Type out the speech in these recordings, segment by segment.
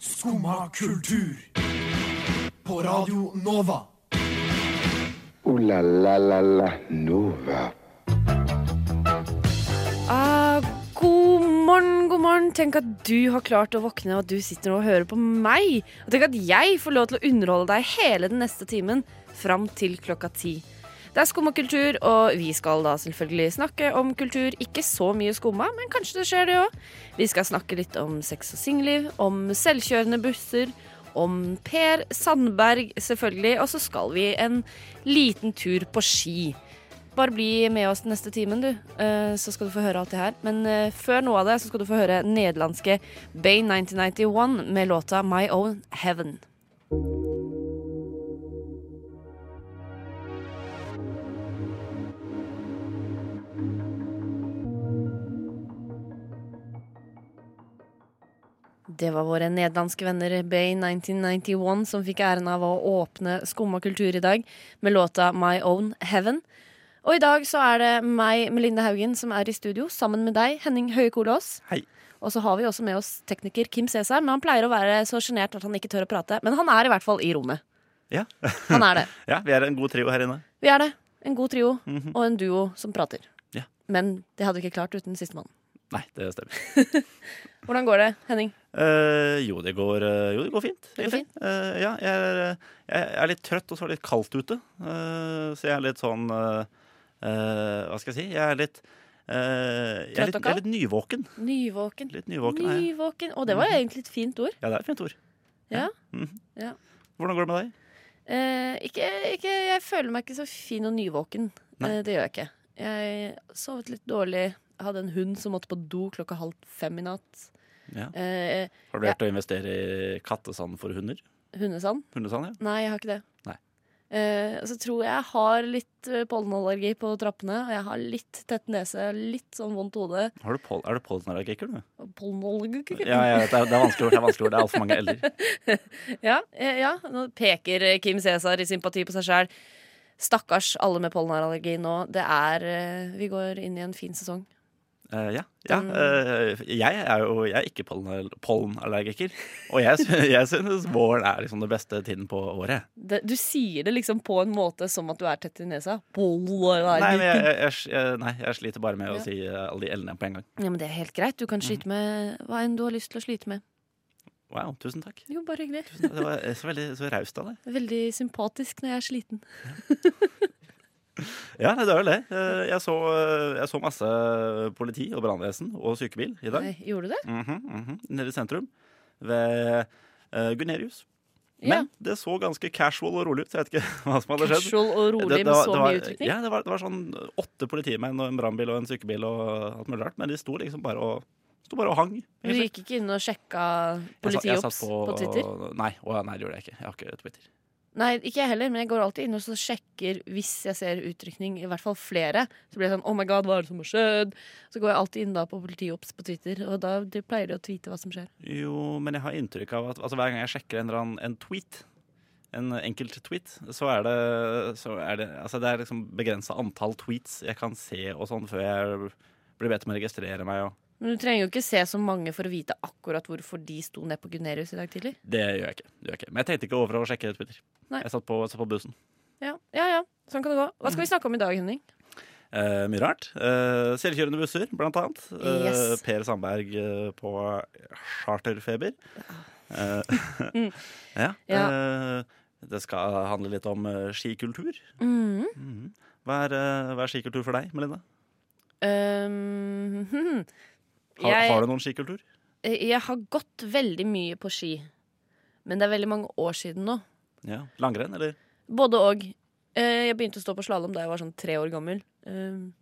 Skumma kultur. På Radio Nova. Ooh la la la la Nova. Ah, god morgen, god morgen. Tenk at du har klart å våkne, og at du sitter nå og hører på meg. Og tenk at jeg får lov til å underholde deg hele den neste timen fram til klokka ti. Det er skumma kultur, og vi skal da selvfølgelig snakke om kultur. Ikke så mye skumma, men kanskje det skjer, det òg. Vi skal snakke litt om sex og singelliv, om selvkjørende busser, om Per Sandberg, selvfølgelig. Og så skal vi en liten tur på ski. Bare bli med oss den neste timen, du, eh, så skal du få høre alt det her. Men eh, før noe av det så skal du få høre nederlandske Bay 1991 med låta My Own Heaven. Det var våre nederlandske venner Bay 1991 som fikk æren av å åpne Skumma kultur i dag med låta My Own Heaven. Og i dag så er det meg, Melinda Haugen, som er i studio sammen med deg, Henning Høie Kolås. Hei. Og så har vi også med oss tekniker Kim Cæsar, men han pleier å være så sjenert at han ikke tør å prate. Men han er i hvert fall i rommet. Ja. Han er det. ja, vi er en god trio her inne. Vi er det. En god trio og en duo som prater. Ja. Men det hadde vi ikke klart uten sistemann. Nei, det stemmer. Hvordan går det, Henning? Eh, jo, det går, eh, jo, det går fint. Det går egentlig. Eh, ja, jeg er, eh, jeg er litt trøtt, og så er det litt kaldt ute. Eh, så jeg er litt sånn eh, eh, Hva skal jeg si? Jeg er litt eh, jeg, er Trøtt litt, og jeg er litt nyvåken. Nyvåken. Litt nyvåken er jeg. Nyvåken. Og det var egentlig et fint ord. Ja, det er et fint ord. Ja. Mhm. Ja. Hvordan går det med deg? Eh, ikke, ikke, jeg føler meg ikke så fin og nyvåken. Nei. Eh, det gjør jeg ikke. Jeg sovet litt dårlig. Jeg hadde en hund som måtte på do klokka halv fem i natt. Ja. Eh, Har du Ja. vært å investere i kattesand for hunder? hundesand. Hundesand, ja. Nei, jeg har ikke det. Nei. Eh, og så tror jeg jeg har litt eh, pollenallergi på trappene. Og jeg har litt tett nese, litt sånn vondt hode. Har du pol er du pollenallergiker, du? Pollenallergi Ja, ja, det er det er vanskelig ord. Det er vanskelig ord. Det er altfor mange l-er. Ja, eh, ja, nå peker eh, Kim Cæsar i sympati på seg sjæl. Stakkars alle med pollenallergi nå. Det er eh, Vi går inn i en fin sesong. Eh, ja. ja. Den- eh, jeg er jo jeg er ikke pollen- pollenallergiker. Og jeg, sy- jeg synes våren er liksom det beste tiden på året. Det, du sier det liksom på en måte som at du er tett i nesa. Nei, men Pollenallergi. jeg, jeg, jeg, jeg, nei, jeg sliter bare med Ja. å si eh, alle de l-ene på en gang. Ja, men det er helt greit. Du kan slite med hva enn du har lyst til å slite med. Wow, tusen takk. Jo, bare hyggelig. Tusen takk. Det var eh, så veldig så raust av deg. Veldig sympatisk når jeg er sliten. Ja, nei, det er vel det. Eh, Jeg så, eh, jeg så masse politi og brannvesen og sykebil i dag. Nei, gjorde du det? Mhm, mhm. Nede i sentrum. Ved uh, Gunerius. Ja. Men det så ganske casual og rolig ut, så jeg vet ikke hva som hadde skjedd. Casual og rolig Det- det med var- så det var- mye utrykning. Ja, det var, det var sånn åtte politimenn og en brannbil og en sykebil og alt mulig rart. Men de sto liksom bare og, sto bare og hang. Du gikk ikke inn og sjekka Jeg sa- jeg satt politiops øh, på, Twitter? Nei, å, nei, det gjorde jeg ikke. Jeg har ikke Twitter. Nei, ikke jeg heller, men jeg går alltid inn og så sjekker hvis jeg ser utrykning. I hvert fall flere. Så blir jeg sånn 'Oh my god, hva er det som har skjedd?' Så går jeg alltid inn da på politiops på Twitter, og da de pleier de å tweete hva som skjer. Jo, men jeg har inntrykk av at altså, hver gang jeg sjekker en, eller annen, en tweet, en enkelt tweet, så er det, så er det Altså, det er liksom begrensa antall tweets jeg kan se og sånn før jeg blir bedt om å registrere meg og Men du trenger jo ikke se så mange for å vite akkurat hvorfor de sto ned på Gunerius i dag tidlig. Det gjør jeg ikke. Det gjør jeg ikke. Men jeg tenkte ikke over å sjekke Twitter. Nei. Jeg satt på, satt på bussen. Ja, ja, ja. Sånn kan det gå. Hva skal vi snakke om i dag, Henning? Eh, mye rart. Eh, selvkjørende busser, blant annet. Eh, Yes. Per Sandberg eh, på charterfeber. Eh, Mm. ja. Eh, det skal handle litt om eh, skikultur. Mm. Mhm. Hva, er, eh, hva er skikultur for deg, Melinda? Um, hmm. Har, Jeg- har du noen skikultur? Jeg har gått veldig mye på ski, men det er veldig mange år siden nå. Ja. Langrenn, eller? Både og. Eh, Jeg begynte å stå på slalåm da jeg var sånn tre år gammel. Um,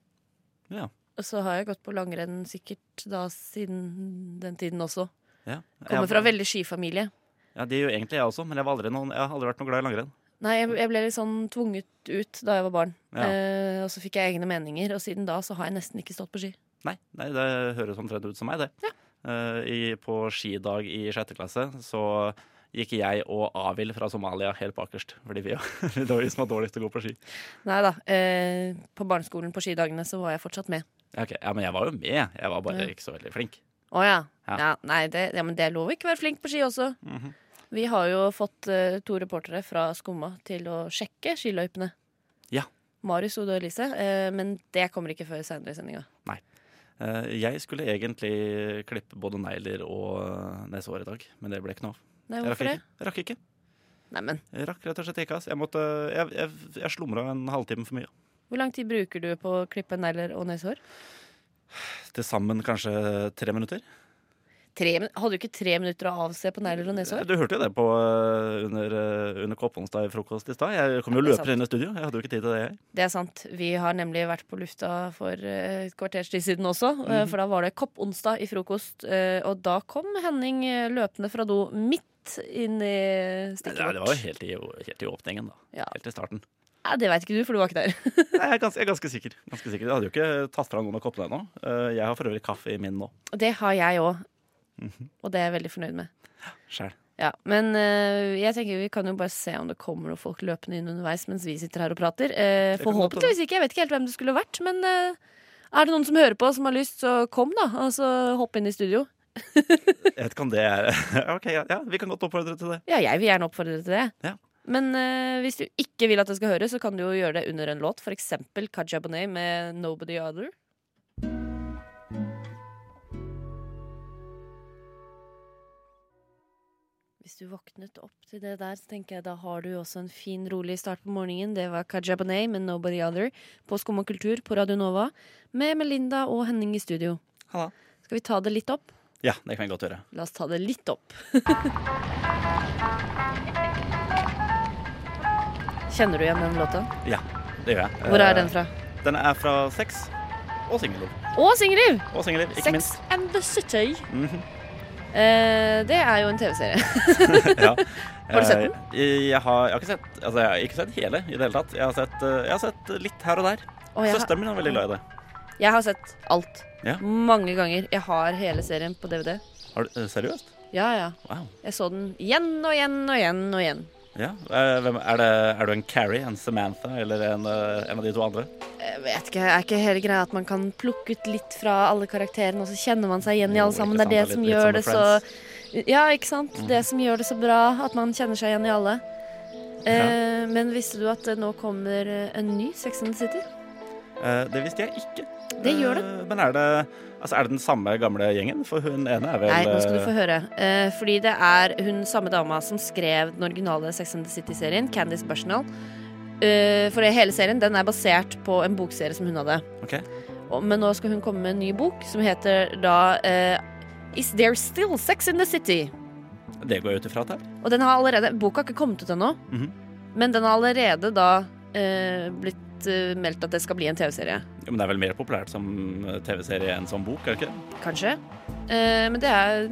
Ja. Og så har jeg gått på langrenn sikkert da siden den tiden også. Ja. Kommer Jeg- fra veldig skifamilie. Ja, Det gjør egentlig jeg også, men jeg, var aldri noen, jeg har aldri vært noe glad i langrenn. Nei, jeg, jeg ble litt sånn tvunget ut da jeg var barn. Ja. Eh, og så fikk jeg egne meninger, og siden da så har jeg nesten ikke stått på ski. Nei, nei, det høres omtrent ut som meg, det. Eh, i, på skidag i sjette klasse så gikk jeg og Avil fra Somalia helt bakerst. Fordi vi det var vi som var dårligst til å gå på ski. Nei da. Eh, på barneskolen på skidagene så var jeg fortsatt med. Ja, ok. ja, Men jeg var jo med. Jeg var bare Ja. ikke så veldig flink. Å ja. Ja. ja. Nei, det, ja, men det er lov å ikke være flink på ski også. Mhm. Vi har jo fått eh, to reportere fra Skumma til å sjekke skiløypene. Ja. Marius, Odo og Elise. eh, men det kommer ikke før senere i sendinga. Eh, Jeg skulle egentlig klippe både negler og eh, nesehår i dag, men det ble ikke noe av. Nei, Jeg rakk hvorfor det? ikke. Jeg rakk ikke. Nei, men Jeg rakk rett og slett ikke. ass. Jeg, måtte, jeg, jeg, jeg slumra en halvtime for mye. Hvor lang tid bruker du på å klippe negler og nesehår? Til sammen kanskje tre minutter. Tre min- Hadde du ikke tre minutter å avse på negler og nesehår? Du hørte jo det på, eh, under, eh, under Kopponsdag i frokost i stad. Jeg kom jo Ja, det er løpende inn i studio. Jeg hadde jo ikke tid til det, jeg. Det er sant. Vi har nemlig vært på lufta for eh, et kvarters tid siden også. Mhm. eh, For da var det Kopponsdag i frokost, eh, og da kom Henning eh, løpende fra do midt inn i Nei, stikket Det, vårt. det var jo helt i, helt i åpningen, da. Ja. Helt i starten. Nei, det veit ikke du, for du var ikke der. Nei, jeg er ganske, jeg er ganske, sikker. ganske sikker. Jeg hadde jo ikke tatt fra noen av koppene ennå. Eh, Jeg har for øvrig kaffe i min nå. Det har jeg òg, Mhm. og det er jeg veldig fornøyd med. Sjæl. Ja, Men eh, jeg tenker vi kan jo bare se om det kommer noen folk løpende inn underveis mens vi sitter her og prater. Eh, Det kan godt forhåpentligvis ikke. Jeg vet ikke helt hvem det skulle vært. Men eh, er det noen som hører på som har lyst, så kom, da. Og så hopp inn i studio. Jeg vet ikke om det er Ok, ja, ja, vi kan godt oppfordre til det. Ja, jeg vil gjerne oppfordre til det. Ja. Men eh, hvis du ikke vil at det skal høres, så kan du jo gjøre det under en låt. For eksempel Kaja Bonet med 'Nobody Other'. Hvis du våknet opp til det der, så tenker jeg da har du også en fin, rolig start på morgenen. Det var Kaja Bonet med 'Nobody Other' på Skum og kultur på Radio Nova. Med Melinda og Henning i studio. Halla. Skal vi ta det litt opp? Ja, det kan vi godt gjøre. La oss ta det litt opp. Kjenner du igjen den låta? Ja, det gjør jeg. Hvor Eh, er den fra? Den er fra Sex og Singelliv. Å, Singrid! Og Singelliv, Sex ikke minst. and the City. Mhm. Eh, det er jo en TV-serie. ja. Har du sett den? Eh, Jeg har, jeg har ikke sett altså jeg har ikke sett hele i det hele tatt. Jeg har sett, eh, jeg har sett litt her og der. Og jeg, har- Søsteren min er veldig glad i det. jeg har sett alt. Ja. Mange ganger. Jeg har hele serien på DVD. Har du, eh, seriøst? Ja, ja. Wow. Jeg så den igjen og igjen og igjen og igjen. Ja. eh, Hvem, er, det, er du en Carrie, en Samantha eller en, eh, en av de to andre? Jeg vet ikke, Er ikke hele greia at man kan plukke ut litt fra alle karakterene, og så kjenner man seg igjen i Jo, alle sammen? ikke Det er det sant, som det er gjør litt- det litt som så Mhm. Ja, ikke sant? Det som gjør det så bra, at man kjenner seg igjen i alle. Eh, men visste du at det nå kommer eh, en ny Sex and the City? Eh, Det visste jeg ikke. Det gjør det. Eh, Men er det, altså er det den samme gamle gjengen? For hun ene er vel Nei, nå skal du eh, få høre. Eh, fordi det er hun samme dama som skrev den originale Sex and the City-serien, Candice Bushnell. Eh, for hele serien den er basert på en bokserie som hun hadde. Ok. Og- Men nå skal hun komme med en ny bok som heter da eh, Is There Still Sex in the City? Det går jeg ut ifra at det er. Og den har allerede Boka har ikke kommet ut ennå, Mhm. men den har allerede da eh, blitt eh, meldt at det skal bli en TV-serie. Jo, Men det er vel mer populært som eh, TV-serie enn som bok, er det ikke? det? Kanskje. Eh, men det er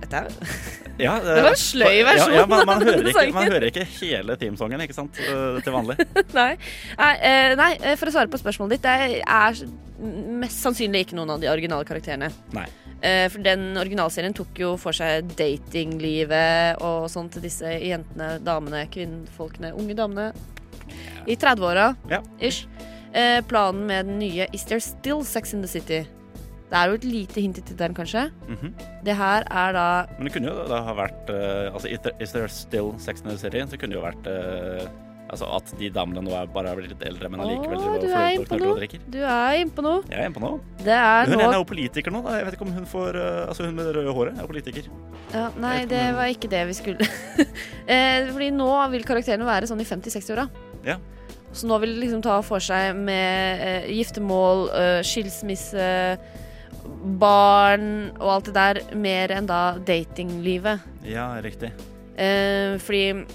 Dette er Ja, eh, Det var en sløy versjon Ja, ja, man, man, av hører denne ikke, sangen. man hører ikke hele teamsongen, ikke sant? eh, Til vanlig. Nei. Nei, eh, nei, eh, for å svare på spørsmålet ditt. Det er mest sannsynlig ikke noen av de originale karakterene. Nei. Eh, For den originalserien tok jo for seg datinglivet og sånn til disse jentene, damene, kvinnfolkene, unge damene i 30-åra Ja. ish. Eh, Planen med den nye Is There Still Sex in the City? Det er jo et lite hint i tittelen, kanskje. Mhm. Det her er da Men det kunne jo da ha vært eh, Altså, is there- Is There Still Sex in the City? Så kunne det jo vært eh, Altså at de damene nå er bare er blitt litt eldre, men allikevel Å, driver og du er flørter inne og på knuller noe. og drikker. Du er inne på noe. Jeg er inne på noe. Det er Hun ene nå er jo politiker nå, da. Jeg vet ikke om hun får eh, Altså hun med det røde håret er jo politiker. ja, Nei, Jeg vet ikke om det hun- var ikke det vi skulle. eh, fordi nå vil karakterene være sånn i 50-60-åra. Ja. Så nå vil de liksom ta for seg med eh, giftermål, eh, skilsmisse, barn og alt det der, mer enn da datinglivet. Ja, riktig. Eh, fordi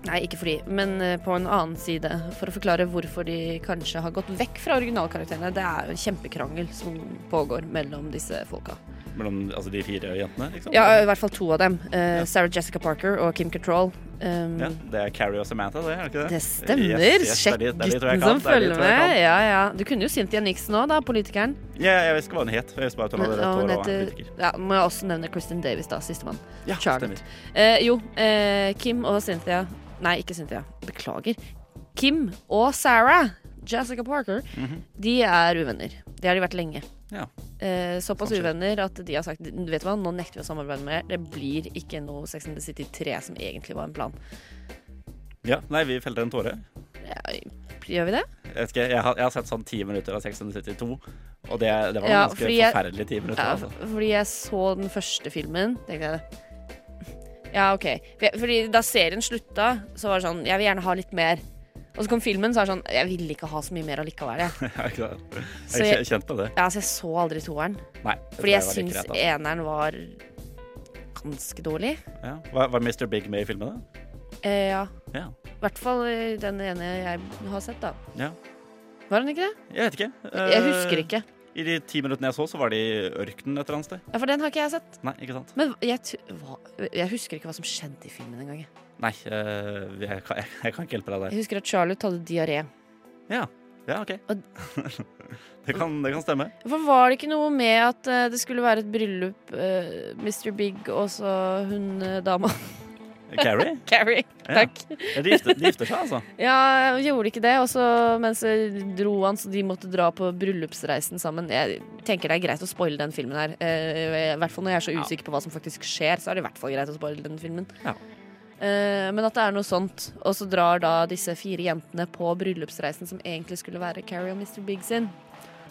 Nei, ikke fordi, men eh, på en annen side. For å forklare hvorfor de kanskje har gått vekk fra originalkarakterene. Det er jo en kjempekrangel som pågår mellom disse folka. Mellom altså, de fire jentene, liksom? Ja, øh, i hvert fall to av dem. Eh, Sarah Jessica Parker og Kim Cattrall. Um, Ja, det er Carrie og Samantha, det? er det ikke det? Det stemmer! Yes, yes, Sjekk det er de- det er de to jeg gutten kan. som Det er de følger to jeg med. kan. Ja, ja. Du kunne jo Cynthia Nixon òg, da. Politikeren. Ja, jeg vet ikke hva hun het. Jeg husker bare at hun hadde Ja, rødt hun hår og var heter- politiker. ja, må jeg også nevne Kristin Davis, da. Sistemann. Ja, Charlotte. stemmer. Eh, jo, eh, Kim og Cynthia Nei, ikke Cynthia. Beklager. Mhm. Kim og Sarah, Jessica Parker, de er uvenner. Det har de vært lenge. Ja. Eh, såpass Sånn skjer. uvenner at de har sagt Vet du hva, nå nekter vi å samarbeide med dere. Det blir ikke noe Sex and the City 3 som egentlig var en plan. Ja, nei, vi felte en tåre. Ja, gjør vi det? Jeg, vet ikke, jeg, har, jeg har sett sånn ti minutter av 672, og det, det var Ja, ganske fordi jeg- forferdelige ti minutter. Ja, Altså. fordi jeg så den første filmen, tenkte jeg det. Ja, OK. For jeg- Fordi da serien slutta, så var det sånn Jeg vil gjerne ha litt mer. Og så kom filmen, så er det sånn Jeg ville ikke ha så mye mer allikevel, jeg. Ja, ikke sant? Så jeg jeg- kj- kjente det. Ja, så jeg så aldri toeren. Nei, det tror Fordi jeg var like syns greit, altså. eneren var ganske dårlig. ja. var, var Mr. Big med i filmen, da? Eh, ja. Ja. I hvert fall eh, den ene jeg har sett, da. ja. Var den ikke det? Jeg vet ikke. Eh, Jeg husker ikke. I de ti minuttene jeg så, så var de i ørkenen et eller annet sted. Ja, For den har ikke jeg sett. Nei, ikke sant? Men jeg, tu- hva- jeg husker ikke hva som skjedde i filmen engang. jeg. Nei, eh, jeg, kan, jeg, jeg kan ikke hjelpe deg der. Jeg husker at Charlotte hadde diaré. Ja, ja OK. Og- det, kan, det kan stemme. For var det ikke noe med at eh, det skulle være et bryllup, eh, Mr. Big og så hun eh, dama Carrie? Carrie? Ja. Takk. De gifter, de gifter seg, altså. Ja, jeg gjorde ikke det. Og så mens jeg dro han, så de måtte dra på bryllupsreisen sammen. Jeg tenker det er greit å spoile den filmen her. Eh, I hvert fall når jeg er så Ja. usikker på hva som faktisk skjer, så er det i hvert fall greit å spoile den filmen. Ja. Eh, men at det er noe sånt. Og så drar da disse fire jentene på bryllupsreisen som egentlig skulle være Carrie og Mr. Big sin.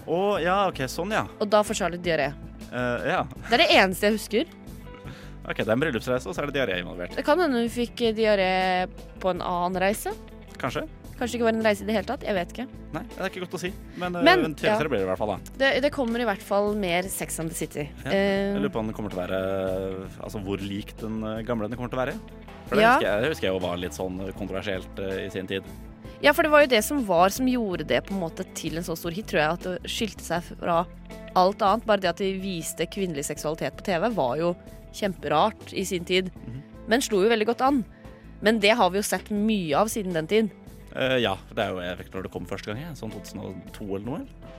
Å ja, OK. Sånn, ja. Og da får Charlotte diaré. Eh, ja. Det er det eneste jeg husker. OK, det er en bryllupsreise, og så er det diaré involvert. Det kan hende hun fikk eh, diaré på en annen reise. Kanskje? Kanskje det ikke var en reise i det hele tatt. Jeg vet ikke. Nei, det er ikke godt å si. Men, eh, Men, en TV-serie ja. blir det i hvert fall, da. Det, det kommer i hvert fall mer Sex and the City. Ja, Eh, Jeg lurer på om den kommer til å være Altså hvor lik den eh, gamle den kommer til å være. For det Ja. husker, jeg, det husker jeg jo var litt sånn kontroversielt eh, i sin tid. Ja, for det var jo det som var som gjorde det på en måte til en så stor hit, tror jeg. At det skilte seg fra alt annet. Bare det at de viste kvinnelig seksualitet på TV, var jo kjemperart i sin tid. Men slo jo veldig godt an. Men det har vi jo sett mye av siden den tid. Eh, ja, det er jo jeg vet ikke når det kom første gang, jeg. Sånn 2002 eller noe?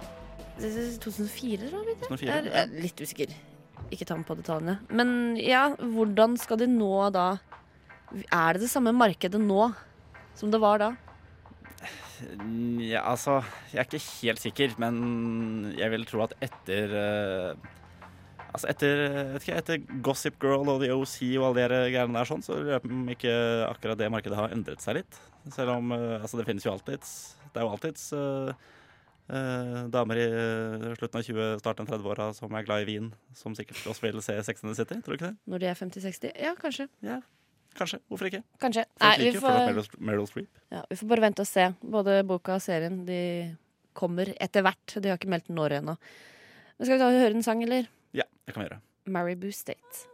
eller? 2004, da? Litt, 2004? jeg er litt usikker. Ikke ta med på detaljene. Men ja, hvordan skal de nå da Er det det samme markedet nå som det var da? Ja, altså, jeg er ikke helt sikker, men jeg vil tro at etter eh, Altså etter, vet ikke, etter Gossip Girl og The OC og alle de her greiene der sånn, så lurer jeg på om ikke akkurat det markedet har endret seg litt. Selv om eh, altså det finnes jo alltids Det er jo alltids eh, eh, damer i eh, slutten av 20, starten av 30-åra som er glad i vin, som sikkert også vil se Sex and the City. Tror du ikke det? Når de er 50-60? Ja, kanskje. Ja, Kanskje. Hvorfor ikke? Kanskje. Folk liker jo fortsatt Meryl- Meryl Streep. Ja, Vi får bare vente og se. Både boka og serien de kommer etter hvert. De har ikke meldt når ennå. Men skal vi ta og høre en sang, eller? Ja, det kan vi gjøre. Mary Boo State.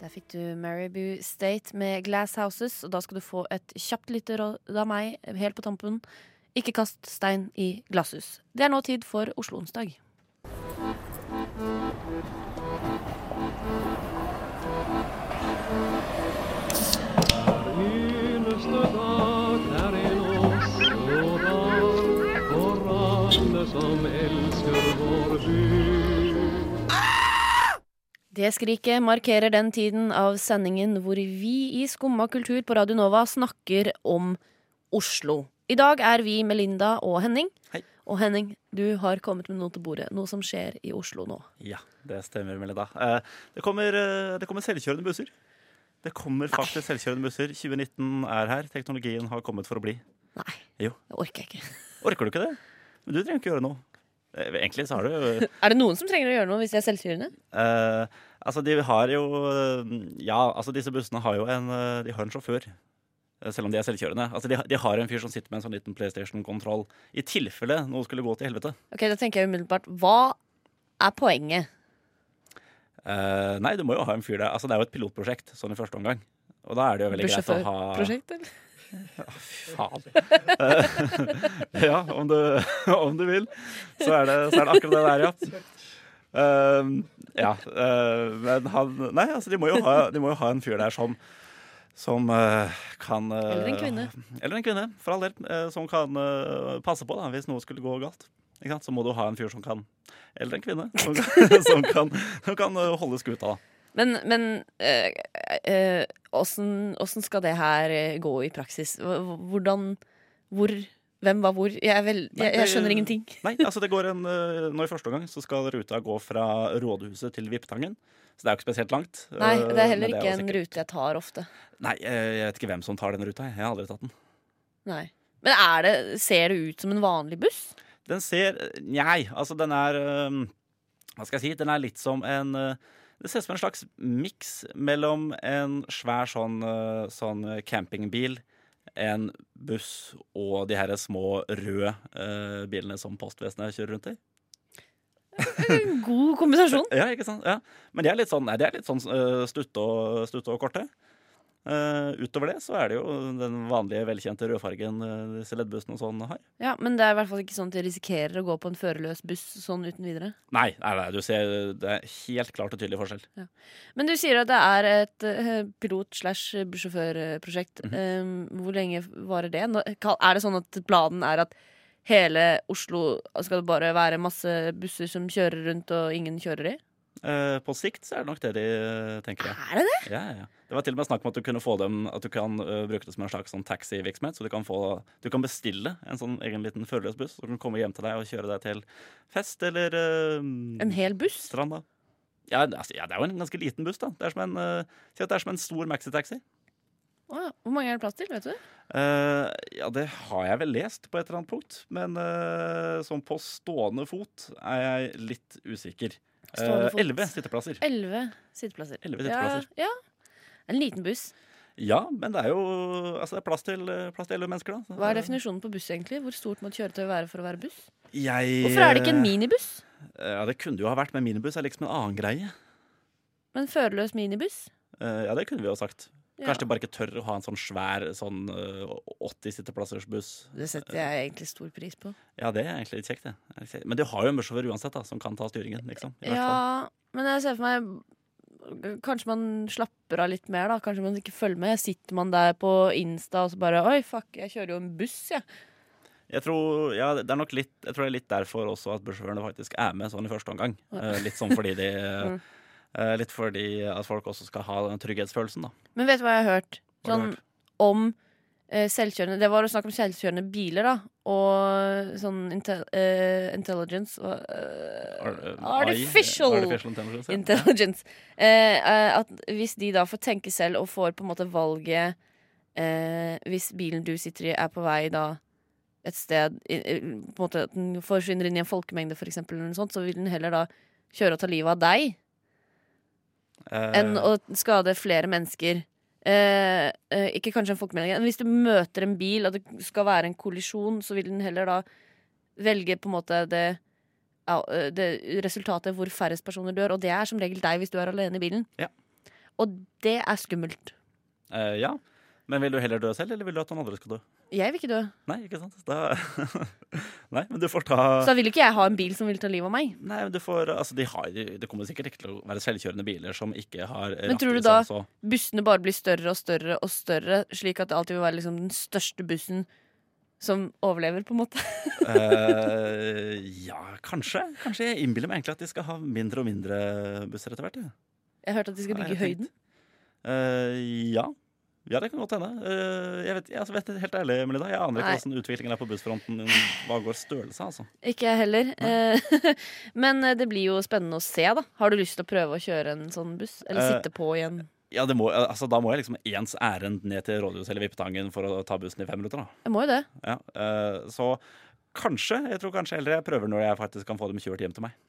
Der fikk du Mary Boo State med Glass Houses, og da skal du få et kjapt lite råd av meg helt på tampen. Ikke kast stein i glasshus. Det er nå tid for Oslo onsdag. eneste dag er en Oslo-dag for alle som elsker vår by. Det skriket markerer den tiden av sendingen hvor vi i Skumma kultur på Radio Nova snakker om Oslo. I dag er vi Melinda og Henning. Hei. Og Henning, du har kommet med noe til bordet. Noe som skjer i Oslo nå. Ja, det stemmer, Melinda. Eh, Det kommer, eh, det kommer selvkjørende busser. Det kommer faktisk selvkjørende busser. 2019 er her. Teknologien har kommet for å bli. Nei, Jo. det orker jeg ikke. Orker du ikke det? Men du trenger ikke gjøre noe. Eh, Egentlig så har du jo Er det noen som trenger å gjøre noe hvis de er selvstyrende? eh, Altså, de har jo eh, Ja, altså, disse bussene har jo en, eh, de har en sjåfør. eh, Selv om de er selvkjørende. Altså, de, har- de har en fyr som sitter med en sånn liten PlayStation-kontroll. I tilfelle noe skulle gå til helvete. Ok, Da tenker jeg umiddelbart hva er poenget? Eh, nei, du må jo ha en fyr der. Altså, det er jo et pilotprosjekt, sånn i første omgang. Og da er det jo veldig greit å ha Bussjåførprosjekt, eller? faen. Eh, ja, om du, om du vil, så er, det, så er det akkurat det der, ja. Ehm, ja, eh, men han Nei, altså, de må jo ha, de må jo ha en fyr der som som eh, kan eh, Eller en kvinne. Eller en kvinne, for all del. eh, som kan eh, passe på da, hvis noe skulle gå galt. Ikke sant? Så må du ha en fyr som kan Eller en kvinne som kan, som kan, som kan eh, holde skuta. da. Men, men eh, eh, åssen åssen skal det her eh, gå i praksis? Hva- Hvordan, hvor Hvem var hvor? Jeg, er vel, jeg, jeg skjønner ingenting. Nei, altså det går en, eh, Nå i første omgang så skal ruta gå fra rådhuset til Viptangen. Så det er jo ikke spesielt langt. Nei, eh, Det er men heller jo ikke en sikkert- rute jeg tar ofte. Nei, eh, jeg vet ikke hvem som tar den ruta. jeg. Jeg har aldri tatt den. Nei. Men er det, ser det ut som en vanlig buss? Den ser Nei, altså den er øhm, Hva skal jeg si? Den er litt som en øh, Det ser ut som en slags miks mellom en svær sånn, øh, sånn campingbil, en buss og de her små røde øh, bilene som postvesenet kjører rundt i. En god kombinasjon. Ja, ikke sant? Ja. Men de er litt sånn, nei, de er litt sånn øh, stutte og, stutte og korte. Eh, utover det så er det jo den vanlige, velkjente rødfargen øh, disse leddbussene og sånn har. Ja, Men det er i hvert fall ikke sånn at de risikerer å gå på en førerløs buss sånn uten videre. Nei, nei, nei, du ser det er helt klart og tydelig forskjell. Men du sier at det er et eh, pilot-slash-bussjåførprosjekt. Mhm. Eh, hvor lenge varer det? Nå- Er det sånn at planen er at hele Oslo skal det bare være masse busser som kjører rundt, og ingen kjører i? Eh, på sikt så er det nok det de eh, tenker. Ja. Er det det? Ja, ja, ja. Det var til og med snakk om at du kunne få dem At du kan eh, bruke det som en slags sånn taxivirksomhet. Så du kan, få, du kan bestille en sånn egen liten førerløs buss som kan komme hjem til deg og kjøre deg til fest eller eh, En hel buss? stranda. Ja, det- altså, ja, det er jo en ganske liten buss, da. Det er som en, eh, si at det er som en stor maxitaxi. Å, Hvor mange er det plass til? vet du? Eh, ja, det har jeg vel lest på et eller annet punkt, men eh, sånn på stående fot er jeg litt usikker. Eh, Stående fot. Elleve sitteplasser. Elleve sitteplasser. Elleve sitteplasser. Ja, ja. En liten buss. Ja, men det er jo altså det er plass til plass til elleve mennesker, da. Hva er definisjonen på buss, egentlig? Hvor stort må et kjøretøy være for å være buss? Jeg, eh, Hvorfor er det ikke en minibuss? Ja, Det kunne det jo ha vært, men minibuss er liksom en annen greie. Men førerløs minibuss? Eh, ja, det kunne vi jo ha sagt. Ja. Kanskje de bare ikke tør å ha en sånn svær sånn eh, 80 sitteplassers buss. Det setter jeg egentlig stor pris på. Ja, det er egentlig litt kjekt, det. Det er litt kjekt. Men de har jo en bussjåfør uansett, da, som kan ta styringen, liksom. I hvert fall. Ja, men jeg ser for meg Kanskje man slapper av litt mer, da. Kanskje man ikke følger med. Sitter man der på Insta og så bare Oi, fuck, jeg kjører jo en buss, jeg. Jeg tror, ja, det er nok litt, jeg tror det er litt derfor også at bussjåførene faktisk er med sånn i første omgang. Eh, litt sånn fordi de Mm. eh, Litt fordi at folk også skal ha den trygghetsfølelsen, da. Men vet du hva jeg har hørt? Hva har du Sånn om eh, selvkjørende Det var jo snakk om selvkjørende biler, da. Og sånn inte- eh, intelligence og eh, Ar- eh, Artificial! AI, artificial intelligence, ja. intelligence. Eh, eh, at hvis de da får tenke selv og får på en måte valget eh, Hvis bilen du sitter i, er på vei da et sted i, i, På en måte at den forsvinner inn i en folkemengde, for eksempel, eller noe sånt, så vil den heller da kjøre og ta livet av deg Eh, enn å skade flere mennesker. Eh, eh, ikke kanskje en folkemelding. Men hvis du møter en bil, og det skal være en kollisjon, så vil den heller da velge på en måte det, ja, eh, det resultatet hvor færrest personer dør. Og det er som regel deg hvis du er alene i bilen. Ja. Og det er skummelt. eh, ja. Men vil du heller dø selv, eller vil du at noen andre skal dø? Jeg vil ikke dø. Nei, ikke sant? Da... Nei, men du får ta Så da vil ikke jeg ha en bil som vil ta livet av meg. Nei, men du får, altså de har, Det kommer sikkert ikke til å være selvkjørende biler som ikke har Men tror du da- Bussene bare blir større og større og større, slik at det alltid vil være liksom den største bussen som overlever, på en måte. Eh, Ja, kanskje. Kanskje jeg innbiller meg egentlig at de skal ha mindre og mindre busser etter hvert. Ja. Jeg hørte at de skal Har bygge jeg tenkt. høyden. Eh, ja. ja, det kan godt hende. Eh, jeg vet, jeg, altså, vet det helt ærlig, Melinda, jeg aner ikke Nei. hvordan utviklingen er på bussfronten hva går størrelse. altså. Ikke jeg heller. Eh, Men eh, det blir jo spennende å se, da. Har du lyst til å prøve å kjøre en sånn buss? Eller Eh, sitte på i en Ja, det må, altså, Da må jeg liksom ens ærend ned til rådhuset eller Vippetangen for å ta bussen i fem minutter. da. Jeg må jo det. Ja, eh, så kanskje, jeg tror kanskje heller jeg prøver når jeg faktisk kan få dem kjørt hjem til meg.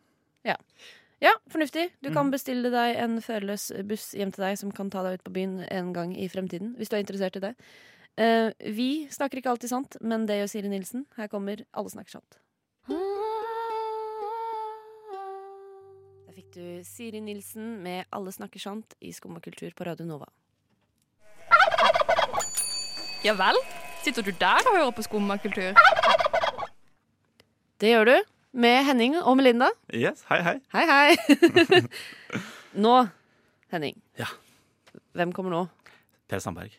Ja, fornuftig. Du kan bestille deg en førerløs buss hjem til deg som kan ta deg ut på byen en gang i fremtiden, hvis du er interessert i det. Eh, Vi snakker ikke alltid sant, men det gjør Siri Nilsen. Her kommer Alle snakker sant. Der fikk du Siri Nilsen med Alle snakker sant i Skum og kultur på Radio Nova. Ja vel? Sitter du der og hører på skummakultur? Det gjør du med Henning og Melinda. Yes, hei, hei. Hei, hei. nå, Henning. Ja. Hvem kommer nå? Per Sandberg.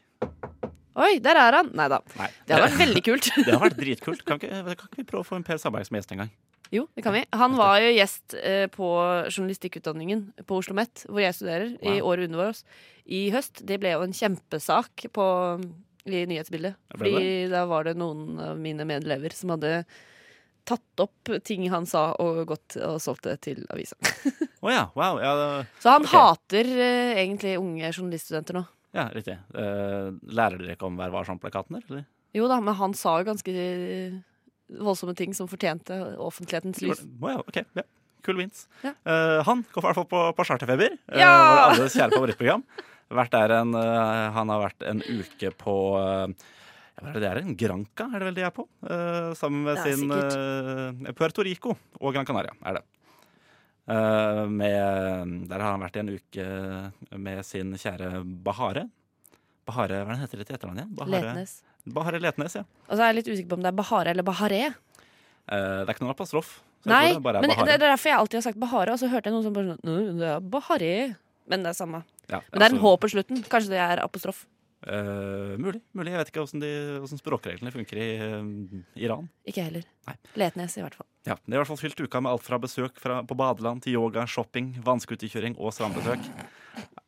Oi, der er han! Nei da. Nei, Det hadde vært veldig kult. det har vært dritkult. Kan ikke, kan ikke vi prøve å få en Per Sandberg som gjest en gang? jo, det kan vi. Han var jo gjest eh, på journalistikkutdanningen på Oslo OsloMet, hvor jeg studerer, i Wow. året under oss, i høst. Det ble jo en kjempesak på i nyhetsbildet. Ja, ble det? Fordi da var det noen av mine medelever som hadde tatt opp ting han sa, og gått og solgt det til avisa. Å ja, wow. Ja, det- Så han Ok. hater eh, egentlig unge journaliststudenter nå. ja riktig. Eh, lærer dere ikke om Vær varsom-plakaten der, eller? Jo da, men han sa jo ganske eh, voldsomme ting som fortjente offentlighetens lys. Å ja, ok. Ja. Kul vins. Ja. Eh, han kom i hvert fall på, på Charterfeber. eh, Ja! vår alles kjære favorittprogram. Vært der en, eh, han har vært en uke på eh, ja, hva er det det er? En Granca, er det vel de er på? Eh, sammen med Ja, sin eh, Puerto Rico og Gran Canaria, er det. Eh, med, der har han vært i en uke med sin kjære Bahare. Bahare, Hva er det han heter det til etternavn igjen? Bahare- Letnes. Bahare Letnes, ja. Og så er Altså, jeg litt usikker på om det er Bahare eller Bahareh. Eh, det er ikke noen apostrof. så jeg Nei, tror det bare er men Bahare. det er derfor jeg alltid har sagt Bahare, og så hørte jeg noen som bare sånn «Nå, det er Bahare. Men det er samme. Ja, Men det er en altså- H på slutten. Kanskje det er apostrof. Eh, mulig. mulig. Jeg vet ikke hvordan, de, hvordan språkreglene funker i eh, Iran. Ikke heller. Nei. Letnes, i hvert fall. Ja, Det er i hvert fall fylt uka med alt fra besøk fra, på badeland til yoga, shopping, vannskuterkjøring og strandbesøk.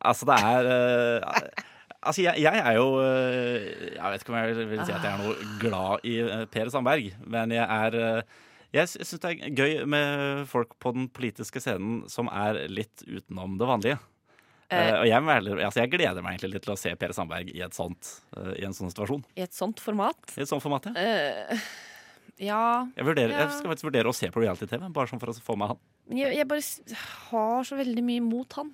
Altså, det er eh, Altså, jeg, jeg er jo eh, Jeg vet ikke om jeg vil si at jeg er noe glad i eh, Per Sandberg, men jeg er eh, jeg sy- syns det er gøy med folk på den politiske scenen som er litt utenom det vanlige. Eh, Eh, og jeg, melder- altså jeg gleder meg egentlig litt til å se Per Sandberg i, et sånt, eh, i en sånn situasjon. I et sånt format. I et sånt format, ja. Eh, ja Jeg, vurderer, Ja. jeg skal faktisk vurdere å se på reality-TV, bare sånn for å få med han. Men jeg, jeg bare s- har så veldig mye mot han.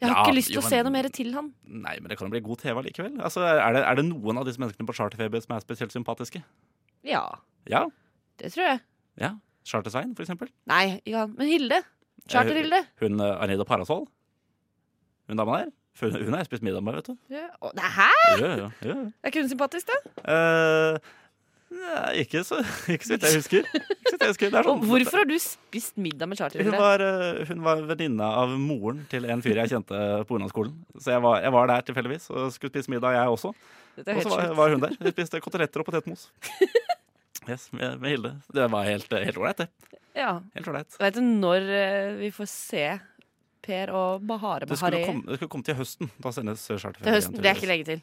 Jeg har Ja, ikke lyst til jo, å se men- noe mer til han. Nei, men det kan jo bli god TV likevel. Altså, er, det, er det noen av disse menneskene på charterfeber som er spesielt sympatiske? Ja, Ja. det tror jeg. ja. Charter-Svein, for eksempel. Eh, Nei, ikke han. Men Hilde. Charter-Hilde. Hun eh, Arnida Parasol. Hun dama der. Hun, hun har jeg spist middag med, vet du. Ja. Å, nei, Hæ? Ja, ja, ja. Er ikke hun sympatisk, da? Eh, nei, ikke, så, ikke så vidt jeg husker. Ikke så vidt jeg husker. Det er sånn, Og hvorfor har du spist middag med Hun Charter-Hilde? var, eh, hun var venninne av moren til en fyr jeg kjente på ungdomsskolen. Så jeg var, jeg var der tilfeldigvis og skulle spise middag, jeg også. Dette er Og helt så var, sjukt. var hun der. Vi spiste koteletter og potetmos. Yes, med, med Hilde. Det var helt eh, helt ålreit, det. Ja. Helt ålreit. Vet du når eh, vi får se Per og Bahare Det skulle, Bahare? komme, det skulle komme til høsten. Da sendes charterferien. Til høsten. igjen,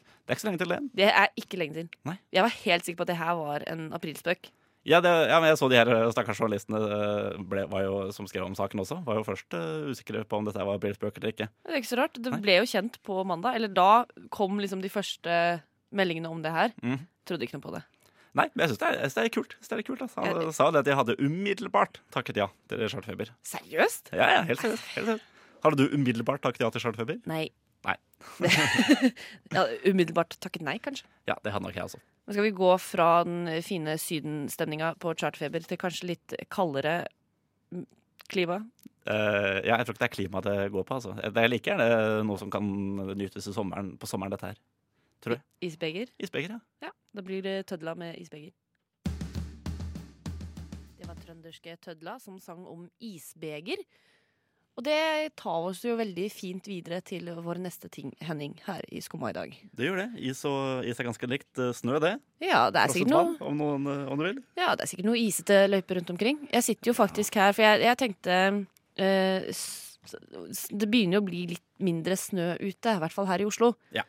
Det er ikke lenge tydeligvis. til. Det er ikke så lenge til det. Det er ikke lenge til. Nei. Jeg var helt sikker på at det her var en aprilspøk. Ja, det, ja, men jeg så de her eh, stakkars journalistene eh, ble, var jo, som skrev om saken også, var jo først eh, usikre på om dette var Bill Spøk eller ikke. Det er ikke så rart. Det Nei. ble jo kjent på mandag. Eller da kom liksom de første meldingene om det her. Mhm. Trodde ikke noe på det. Nei, men jeg syns det, er- jeg synes det er kult. Jeg synes Det er kult altså. Han sa det at de hadde umiddelbart takket ja til charterfeber. Seriøst? Ja, ja, helt seriøst. Helt seriøst. Hadde du umiddelbart takket ja til charterfeber? Nei. Nei. ja, umiddelbart takket nei, kanskje. Ja, det hadde nok jeg også. Men skal vi gå fra den fine sydenstemninga på chartfeber til kanskje litt kaldere mm, klima? Eh, ja, jeg tror ikke det er klima det går på. Altså. Det er like gjerne noe som kan nytes i sommeren, på sommeren, dette her. Isbeger? Isbeger, ja. Ja, da blir det tødla med isbeger. Det var trønderske Tødla som sang om isbeger. Og det tar oss jo veldig fint videre til vår neste ting, Henning, her i Skumma i dag. Det gjør det. Is, og, is er ganske likt eh, snø, det. Ja, det er Frosset sikkert noe, vann, Om, noen, eh, om du vil. ja, det er sikkert noe isete løyper rundt omkring. Jeg sitter jo faktisk her, for jeg, jeg tenkte eh, s- s- Det begynner jo å bli litt mindre snø ute, i hvert fall her i Oslo. Ja.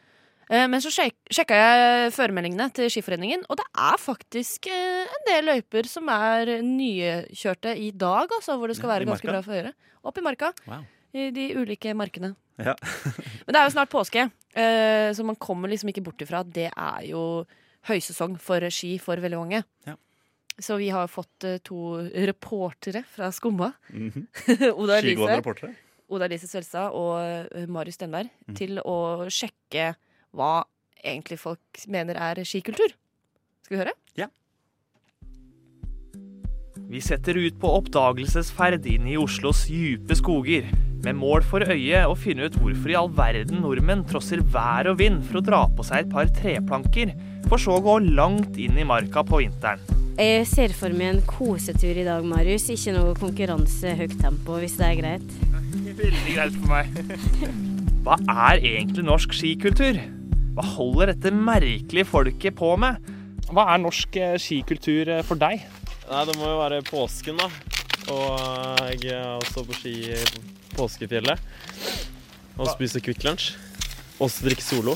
Eh, Men så sjek sjekka jeg føremeldingene til Skiforeningen, og det er faktisk eh, en del løyper som er nykjørte i dag, altså, hvor det skal Ja, i være ganske marka. bra føre. Opp i marka. Wow. I de ulike markene. Ja. Men det er jo snart påske, eh, så man kommer liksom ikke bort ifra at det er jo høysesong for ski for veldig mange. Ja. Så vi har fått eh, to reportere fra Skumma. Mhm. Oda Skigående Elise, reportere. Oda Elise Svelstad og eh, Marius Stenberg Mhm. til å sjekke hva egentlig folk mener er skikultur. Skal vi høre? Vi setter ut på oppdagelsesferd inn i Oslos dype skoger, med mål for øye å finne ut hvorfor i all verden nordmenn trosser vær og vind for å dra på seg et par treplanker, for så å gå langt inn i marka på vinteren. Jeg ser for meg en kosetur i dag, Marius. Ikke noe konkurranse, høyt tempo, hvis det er greit. Veldig greit for meg. Hva er egentlig norsk skikultur? Hva holder dette merkelige folket på med? Hva er norsk eh, skikultur eh, for deg? Nei, det må jo være påsken, da. Og eh, jeg er også på ski i påskefjellet. Og spiser Kvikk Lunsj. Og drikker Solo.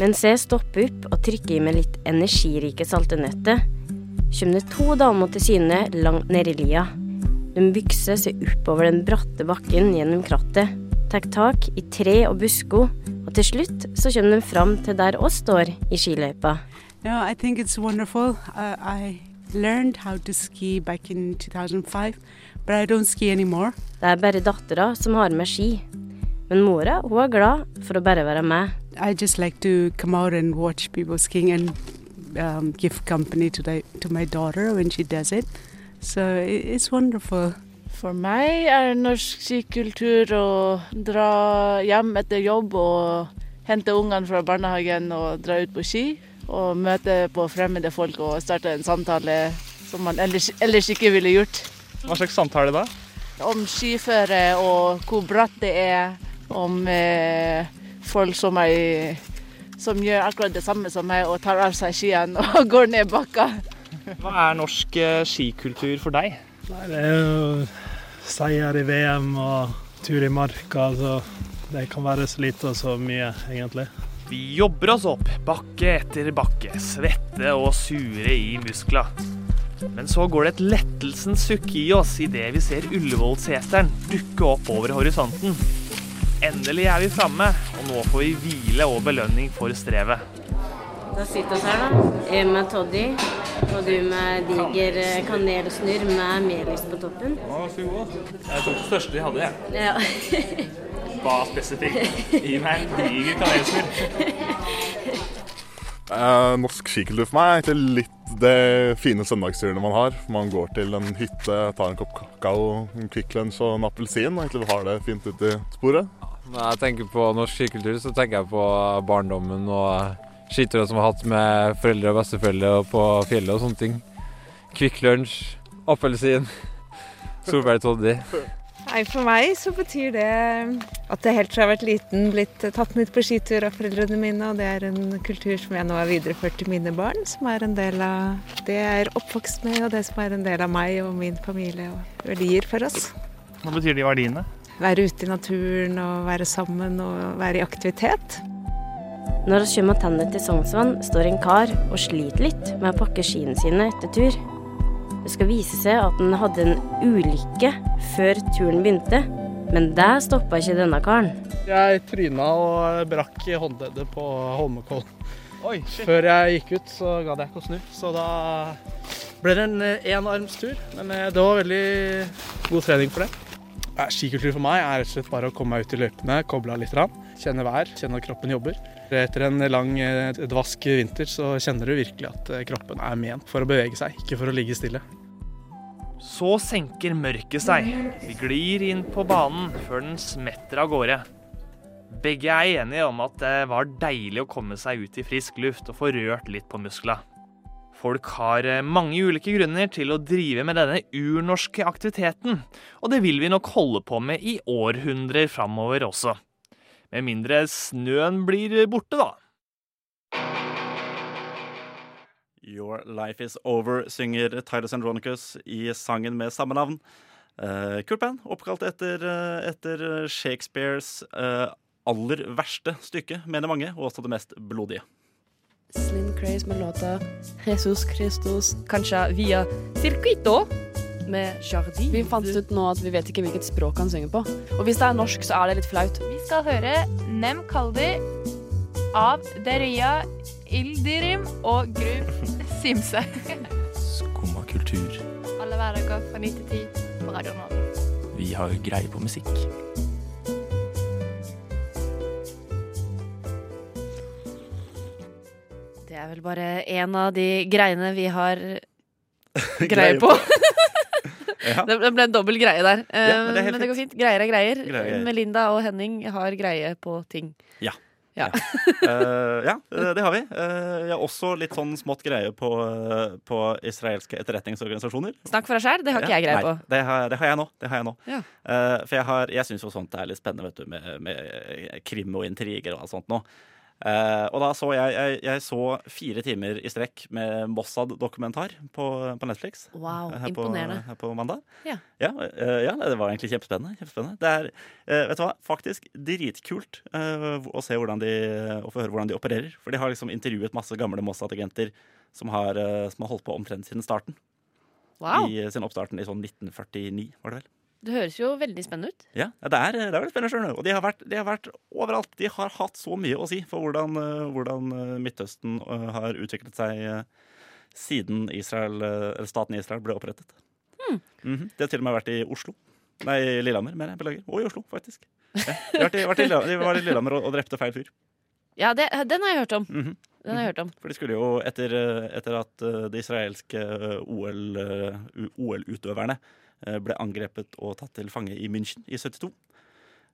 Mens jeg stopper opp og trykker i meg litt energirike salte nøtter, kommer det to damer til syne langt nedi lia. De bykser seg oppover den bratte bakken gjennom krattet, tar tak i tre og busker, og til slutt så kommer de fram til der oss står i skiløypa. No, I think it's wonderful. Uh, I learned how to ski back in 2005, but I don't ski anymore. Det er bare dattera som har med ski, men mora hun er glad for å bare være med. I just like to come out and watch people skiing and um, give company to, the, to my daughter when she does it. So i- it's wonderful. For meg er norsk skikultur å dra hjem etter jobb og hente ungene fra barnehagen og dra ut på ski. Og møte på fremmede folk og starte en samtale som man ellers, ellers ikke ville gjort. Hva slags samtale da? Om skiføre og hvor bratt det er. Om eh, folk som, er, som gjør akkurat det samme som meg og tar av seg skiene og går ned bakka. Hva er norsk eh, skikultur for deg? Nei, det er jo seier i VM og tur i marka, så det kan være så lite og så mye, egentlig. Vi jobber oss opp, bakke etter bakke, svette og sure i muskla. Men så går det et lettelsens sukk i oss idet vi ser Ullevålseteren dukke opp over horisonten. Endelig er vi framme, og nå får vi hvile og belønning for strevet. Da sitter vi her, da. Jeg med Toddy, og du med diger eh, kanelsnurr med melis på toppen. Jeg tok det største de hadde, jeg. Ja. Hva spesifikt? Gi meg en diger Eh, norsk skikultur for meg er egentlig litt det fine søndagsturene man har. Man går til en hytte, tar en kopp kakao, en Kvikk Lunsj og en appelsin. og Egentlig har det fint ute i sporet. Når jeg tenker på norsk skikultur, så tenker jeg på barndommen og skiturene som jeg har hatt med foreldre og besteforeldre og på fjellet og sånne ting. Kvikk lunsj, appelsin, solbærtoddy. Nei, For meg så betyr det at jeg helt fra jeg har vært liten blitt tatt med ut på skitur av foreldrene mine, og det er en kultur som jeg nå har videreført til mine barn, som er en del av det jeg er oppvokst med, og det som er en del av meg og min familie og verdier for oss. Hva betyr de verdiene? Være ute i naturen og være sammen og være i aktivitet. Når vi kommer tilbake til Sognsvann, står en kar og sliter litt med å pakke skiene sine etter tur. Det skal vise seg at han hadde en ulykke før turen begynte, men det stoppa ikke denne karen. Jeg tryna og brakk håndleddet på Holmenkollen. Før jeg gikk ut, så gadd jeg ikke å snu. Så da ble det en enarmstur. Men eh, det var veldig god trening for det. Nei, Skikultur for meg er rett og slett bare å komme meg ut i løypene, koble av litt. grann, Kjenne vær, kjenne at kroppen jobber. Etter en lang, eh, dvask vinter så kjenner du virkelig at eh, kroppen er ment for å bevege seg, ikke for å ligge stille. Så senker mørket seg. Vi glir inn på banen før den smetter av gårde. Begge er enige om at det var deilig å komme seg ut i frisk luft og få rørt litt på muskla. Folk har eh, mange ulike grunner til å drive med denne urnorske aktiviteten, og det vil vi nok holde på med i århundrer framover også. Med mindre snøen blir borte, da. Your Life Is Over synger Tyler Sandronicus i sangen med samme navn. Eh, kult band, oppkalt etter, eh, etter Shakespeares eh, aller verste stykke, mener mange, og også det mest blodige. Slim Craze med låta Jesus Christus Kanskje via Circuito med Jardin. Vi fant ut nå at vi vet ikke hvilket språk han synger på. Og hvis det er norsk, så er det litt flaut. Vi skal høre Nem Kaldi av Deria Ildirim og Gru Simse. Skumma kultur. Alle hverdager fra 9 til 10 på Radio Nord. Vi har greie på musikk. Det er vel bare en av de greiene vi har Greier greier på. Ja. det det ble en dobbel greie der. Eh, Ja, men men, det det er helt går fint. Greier er greier. Greier er greier. Melinda og Henning har greie på ting. Ja. Ja. Eh, ja, eh, det har vi. Eh, jeg har også litt sånn smått greie på, eh, på israelske etterretningsorganisasjoner. Snakk for deg sjæl, det har ikke Ja, jeg greie nei, på. Det har, det har jeg nå. Det har jeg nå. Ja. Eh, for jeg, har- jeg syns jo sånt er litt spennende, vet du, med, med krim og intriger og alt sånt nå. Eh, og da så jeg, jeg, jeg så fire timer i strekk med Mossad-dokumentar på, på Netflix. Wow, eh, her imponerende. På, her på mandag. Ja. Ja, eh, ja, det var egentlig kjempespennende. kjempespennende. Det er eh, vet du hva, faktisk dritkult eh, å se hvordan de, å få høre hvordan de opererer. For de har liksom intervjuet masse gamle Mossad-agenter som, har, eh, som har holdt på omtrent siden starten. Wow. I eh, sin oppstarten i sånn 1949, var det vel. Det høres jo veldig spennende ut. Ja, det er, det er veldig spennende. skjønner du. Og de har, vært, de har vært overalt. De har hatt så mye å si for hvordan, eh, hvordan eh, Midtøsten eh, har utviklet seg eh, siden Israel, eh, eller staten Israel ble opprettet. Mhm. De har til og med vært i Oslo. Nei, i Lillehammer, mener jeg. Beklager. Og i Oslo, faktisk. Ja. De, har vært i, vært i, Lillehammer- de var i Lillehammer og, og drepte feil fyr. Ja, det, den har jeg hørt om. Mhm. Den har jeg hørt om. For de skulle jo, etter, etter at eh, det israelske eh, OL, eh, U- OL-utøverne eh, ble angrepet og tatt til fange i München i 72,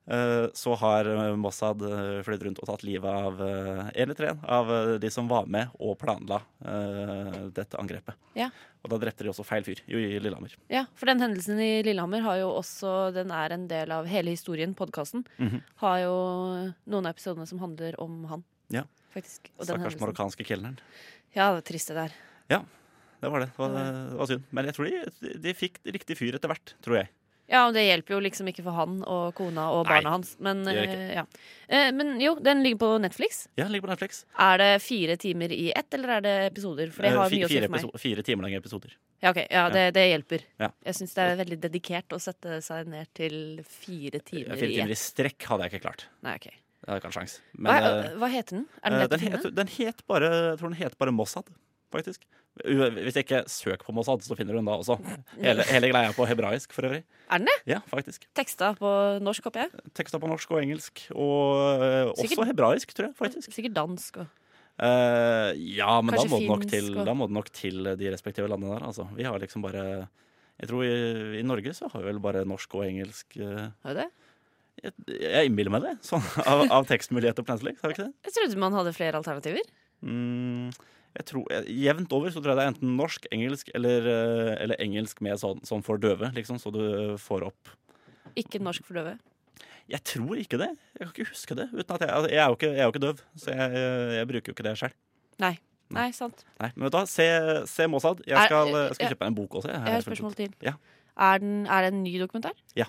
eh, så har eh, Mossad eh, flydd rundt og tatt livet av eh, en eller tre av eh, de som var med og planla eh, dette angrepet. Ja. Og da drepte de også feil fyr jo, i Lillehammer. Ja, for den hendelsen i Lillehammer har jo også Den er en del av hele historien, podkasten. Mhm. Har jo noen av episodene som handler om han, Ja. faktisk. Og den liksom Stakkars hendelsen. marokkanske kelneren. Ja, det er trist det der. Ja, det var det. Det var, det var synd. Men jeg tror de, de fikk riktig fyr etter hvert, tror jeg. Ja, og det hjelper jo liksom ikke for han og kona og Nei, barna hans. Men, det gjør det eh, ja. Eh, men jo, den ligger på Netflix. Ja, den ligger på Netflix. Er det fire timer i ett, eller er det episoder? For det Eh, har fi- mye å si fire for meg. episo- Fire timer lange episoder. Ja, ok, ja, det, det hjelper. Ja. Jeg syns det er veldig dedikert å sette seg ned til fire timer, Fire i timer i ett. strekk hadde jeg ikke klart. Nei, ok. Jeg hadde ikke hatt sjans. hva, eh, hva heter den? Er den eh, lett å den, finne? het, den het bare Jeg tror den het bare Mossad, faktisk. U- Hvis jeg ikke søker på Mossad, så finner du den da også. Hele, hele greia på hebraisk, for øvrig. Er den det? Ja, faktisk. Teksta på norsk, håper jeg. Teksta på norsk og engelsk, og eh, Sikkert- også hebraisk, tror jeg. faktisk. Sikkert dansk og Eh, ja, men da Kanskje må, det nok finsk til, og- da må det nok til de respektive landene der. Altså. Vi har liksom bare Jeg tror i, i Norge så har vi vel bare norsk og engelsk. eh, Har vi det? Jeg, jeg innbiller meg det, sånn av, av tekstmuligheter på Netflix. Har vi ikke det? Jeg trodde man hadde flere alternativer. Mm, jeg tror, jeg- jevnt over så tror jeg det er enten norsk, engelsk eller, eh, eller engelsk med sånn, sånn for døve, liksom, så du får opp Ikke norsk for døve. Jeg tror ikke det. Jeg kan ikke huske det. Uten at jeg, altså, jeg, er, jo ikke, jeg er jo ikke døv, så jeg, eh, jeg bruker jo ikke det selv. Nei. Nei, sant. Nei, men vet du hva, se, se Mossad. Jeg Er- skal, jeg skal ja. kjøpe meg en bok også. Jeg har her et fullt spørsmål ut. til. Ja. Er, den, er det en ny dokumentar? Ja.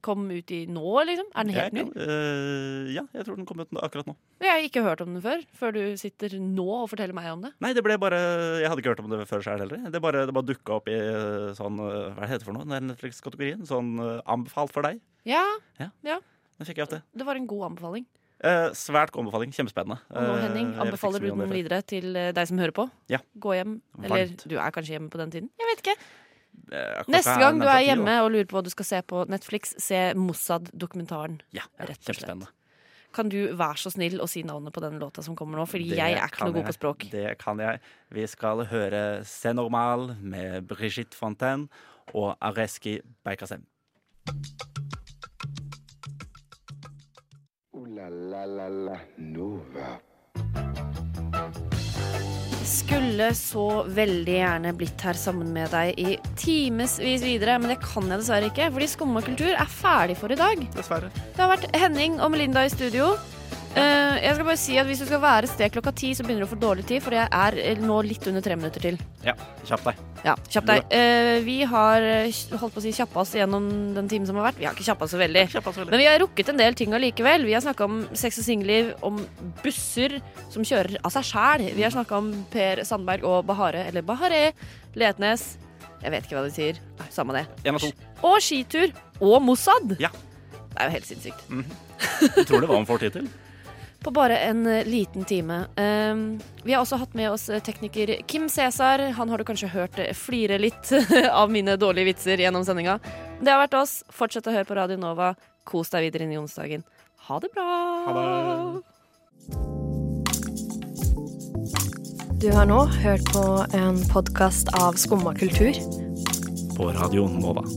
Kom ut i nå, liksom? Er den helt Jeg ny? kan- eh, ja, jeg tror den kom ut akkurat nå. Jeg har ikke hørt om den før, før du sitter nå og forteller meg om det. Nei, det ble bare Jeg hadde ikke hørt om det før selv heller. Det bare, det bare dukka opp i eh, sånn eh, Hva er det heter for noe? Den der Netflix-kategorien? Sånn eh, anbefalt for deg. Ja, Ja. ja. Den fikk jeg opp det. Det var en god anbefaling. Eh, svært god anbefaling. Kjempespennende. Og nå, Henning, Eh, jeg vet ikke så anbefaler du mye om det den før. videre til eh, deg som hører på. Ja. Gå hjem. Varmt. Eller du er kanskje hjemme på den tiden. Jeg vet ikke. Eh, klokka Neste gang du nærmere er ti, hjemme da. og lurer på hva du skal se på Netflix, se Mossad-dokumentaren. Ja, ja rett og slett. kjempespennende. Kan du være så snill å si navnet på den låta som kommer nå? Fordi Det jeg er ikke kan noe god jeg. på språk. Det kan jeg. Vi skal høre C'est normal med Brigitte Fontaine og Areski Beikasem. Ooh-la-la-la-la Nova. Skulle så veldig gjerne blitt her sammen med deg i timevis videre, men det kan jeg dessverre ikke, fordi Skumma kultur er ferdig for i dag. Dessverre. Det har vært Henning og Melinda i studio. Eh, jeg skal bare si at Hvis du skal være et sted klokka ti, så begynner du å få dårlig tid, for jeg er eh, nå litt under tre minutter til. Ja, kjapp deg. Ja, kjapp deg. Eh, vi har eh, holdt på å si kjappa oss gjennom den timen som har vært. Vi har ikke kjappa oss så veldig. Men vi har rukket en del ting allikevel. Vi har snakka om sex og singelliv, om busser som kjører av seg sjæl. Vi har snakka om Per Sandberg og Bahare, eller Bahare Letnes. Jeg vet ikke hva de sier. Samme det. En av to. Og skitur. Og Mossad. Ja. Det er jo helt sinnssykt. Jeg tror det var en får tid til. På bare en eh, liten time. Ehm, vi har også hatt med oss eh, tekniker Kim Cæsar. Han har du kanskje hørt eh, flire litt av mine dårlige vitser gjennom sendinga. Det har vært oss. Fortsett å høre på Radio Nova. Kos deg videre inn i onsdagen. Ha det bra! Du har nå hørt på en podkast av Skumma kultur. På Radio Nova.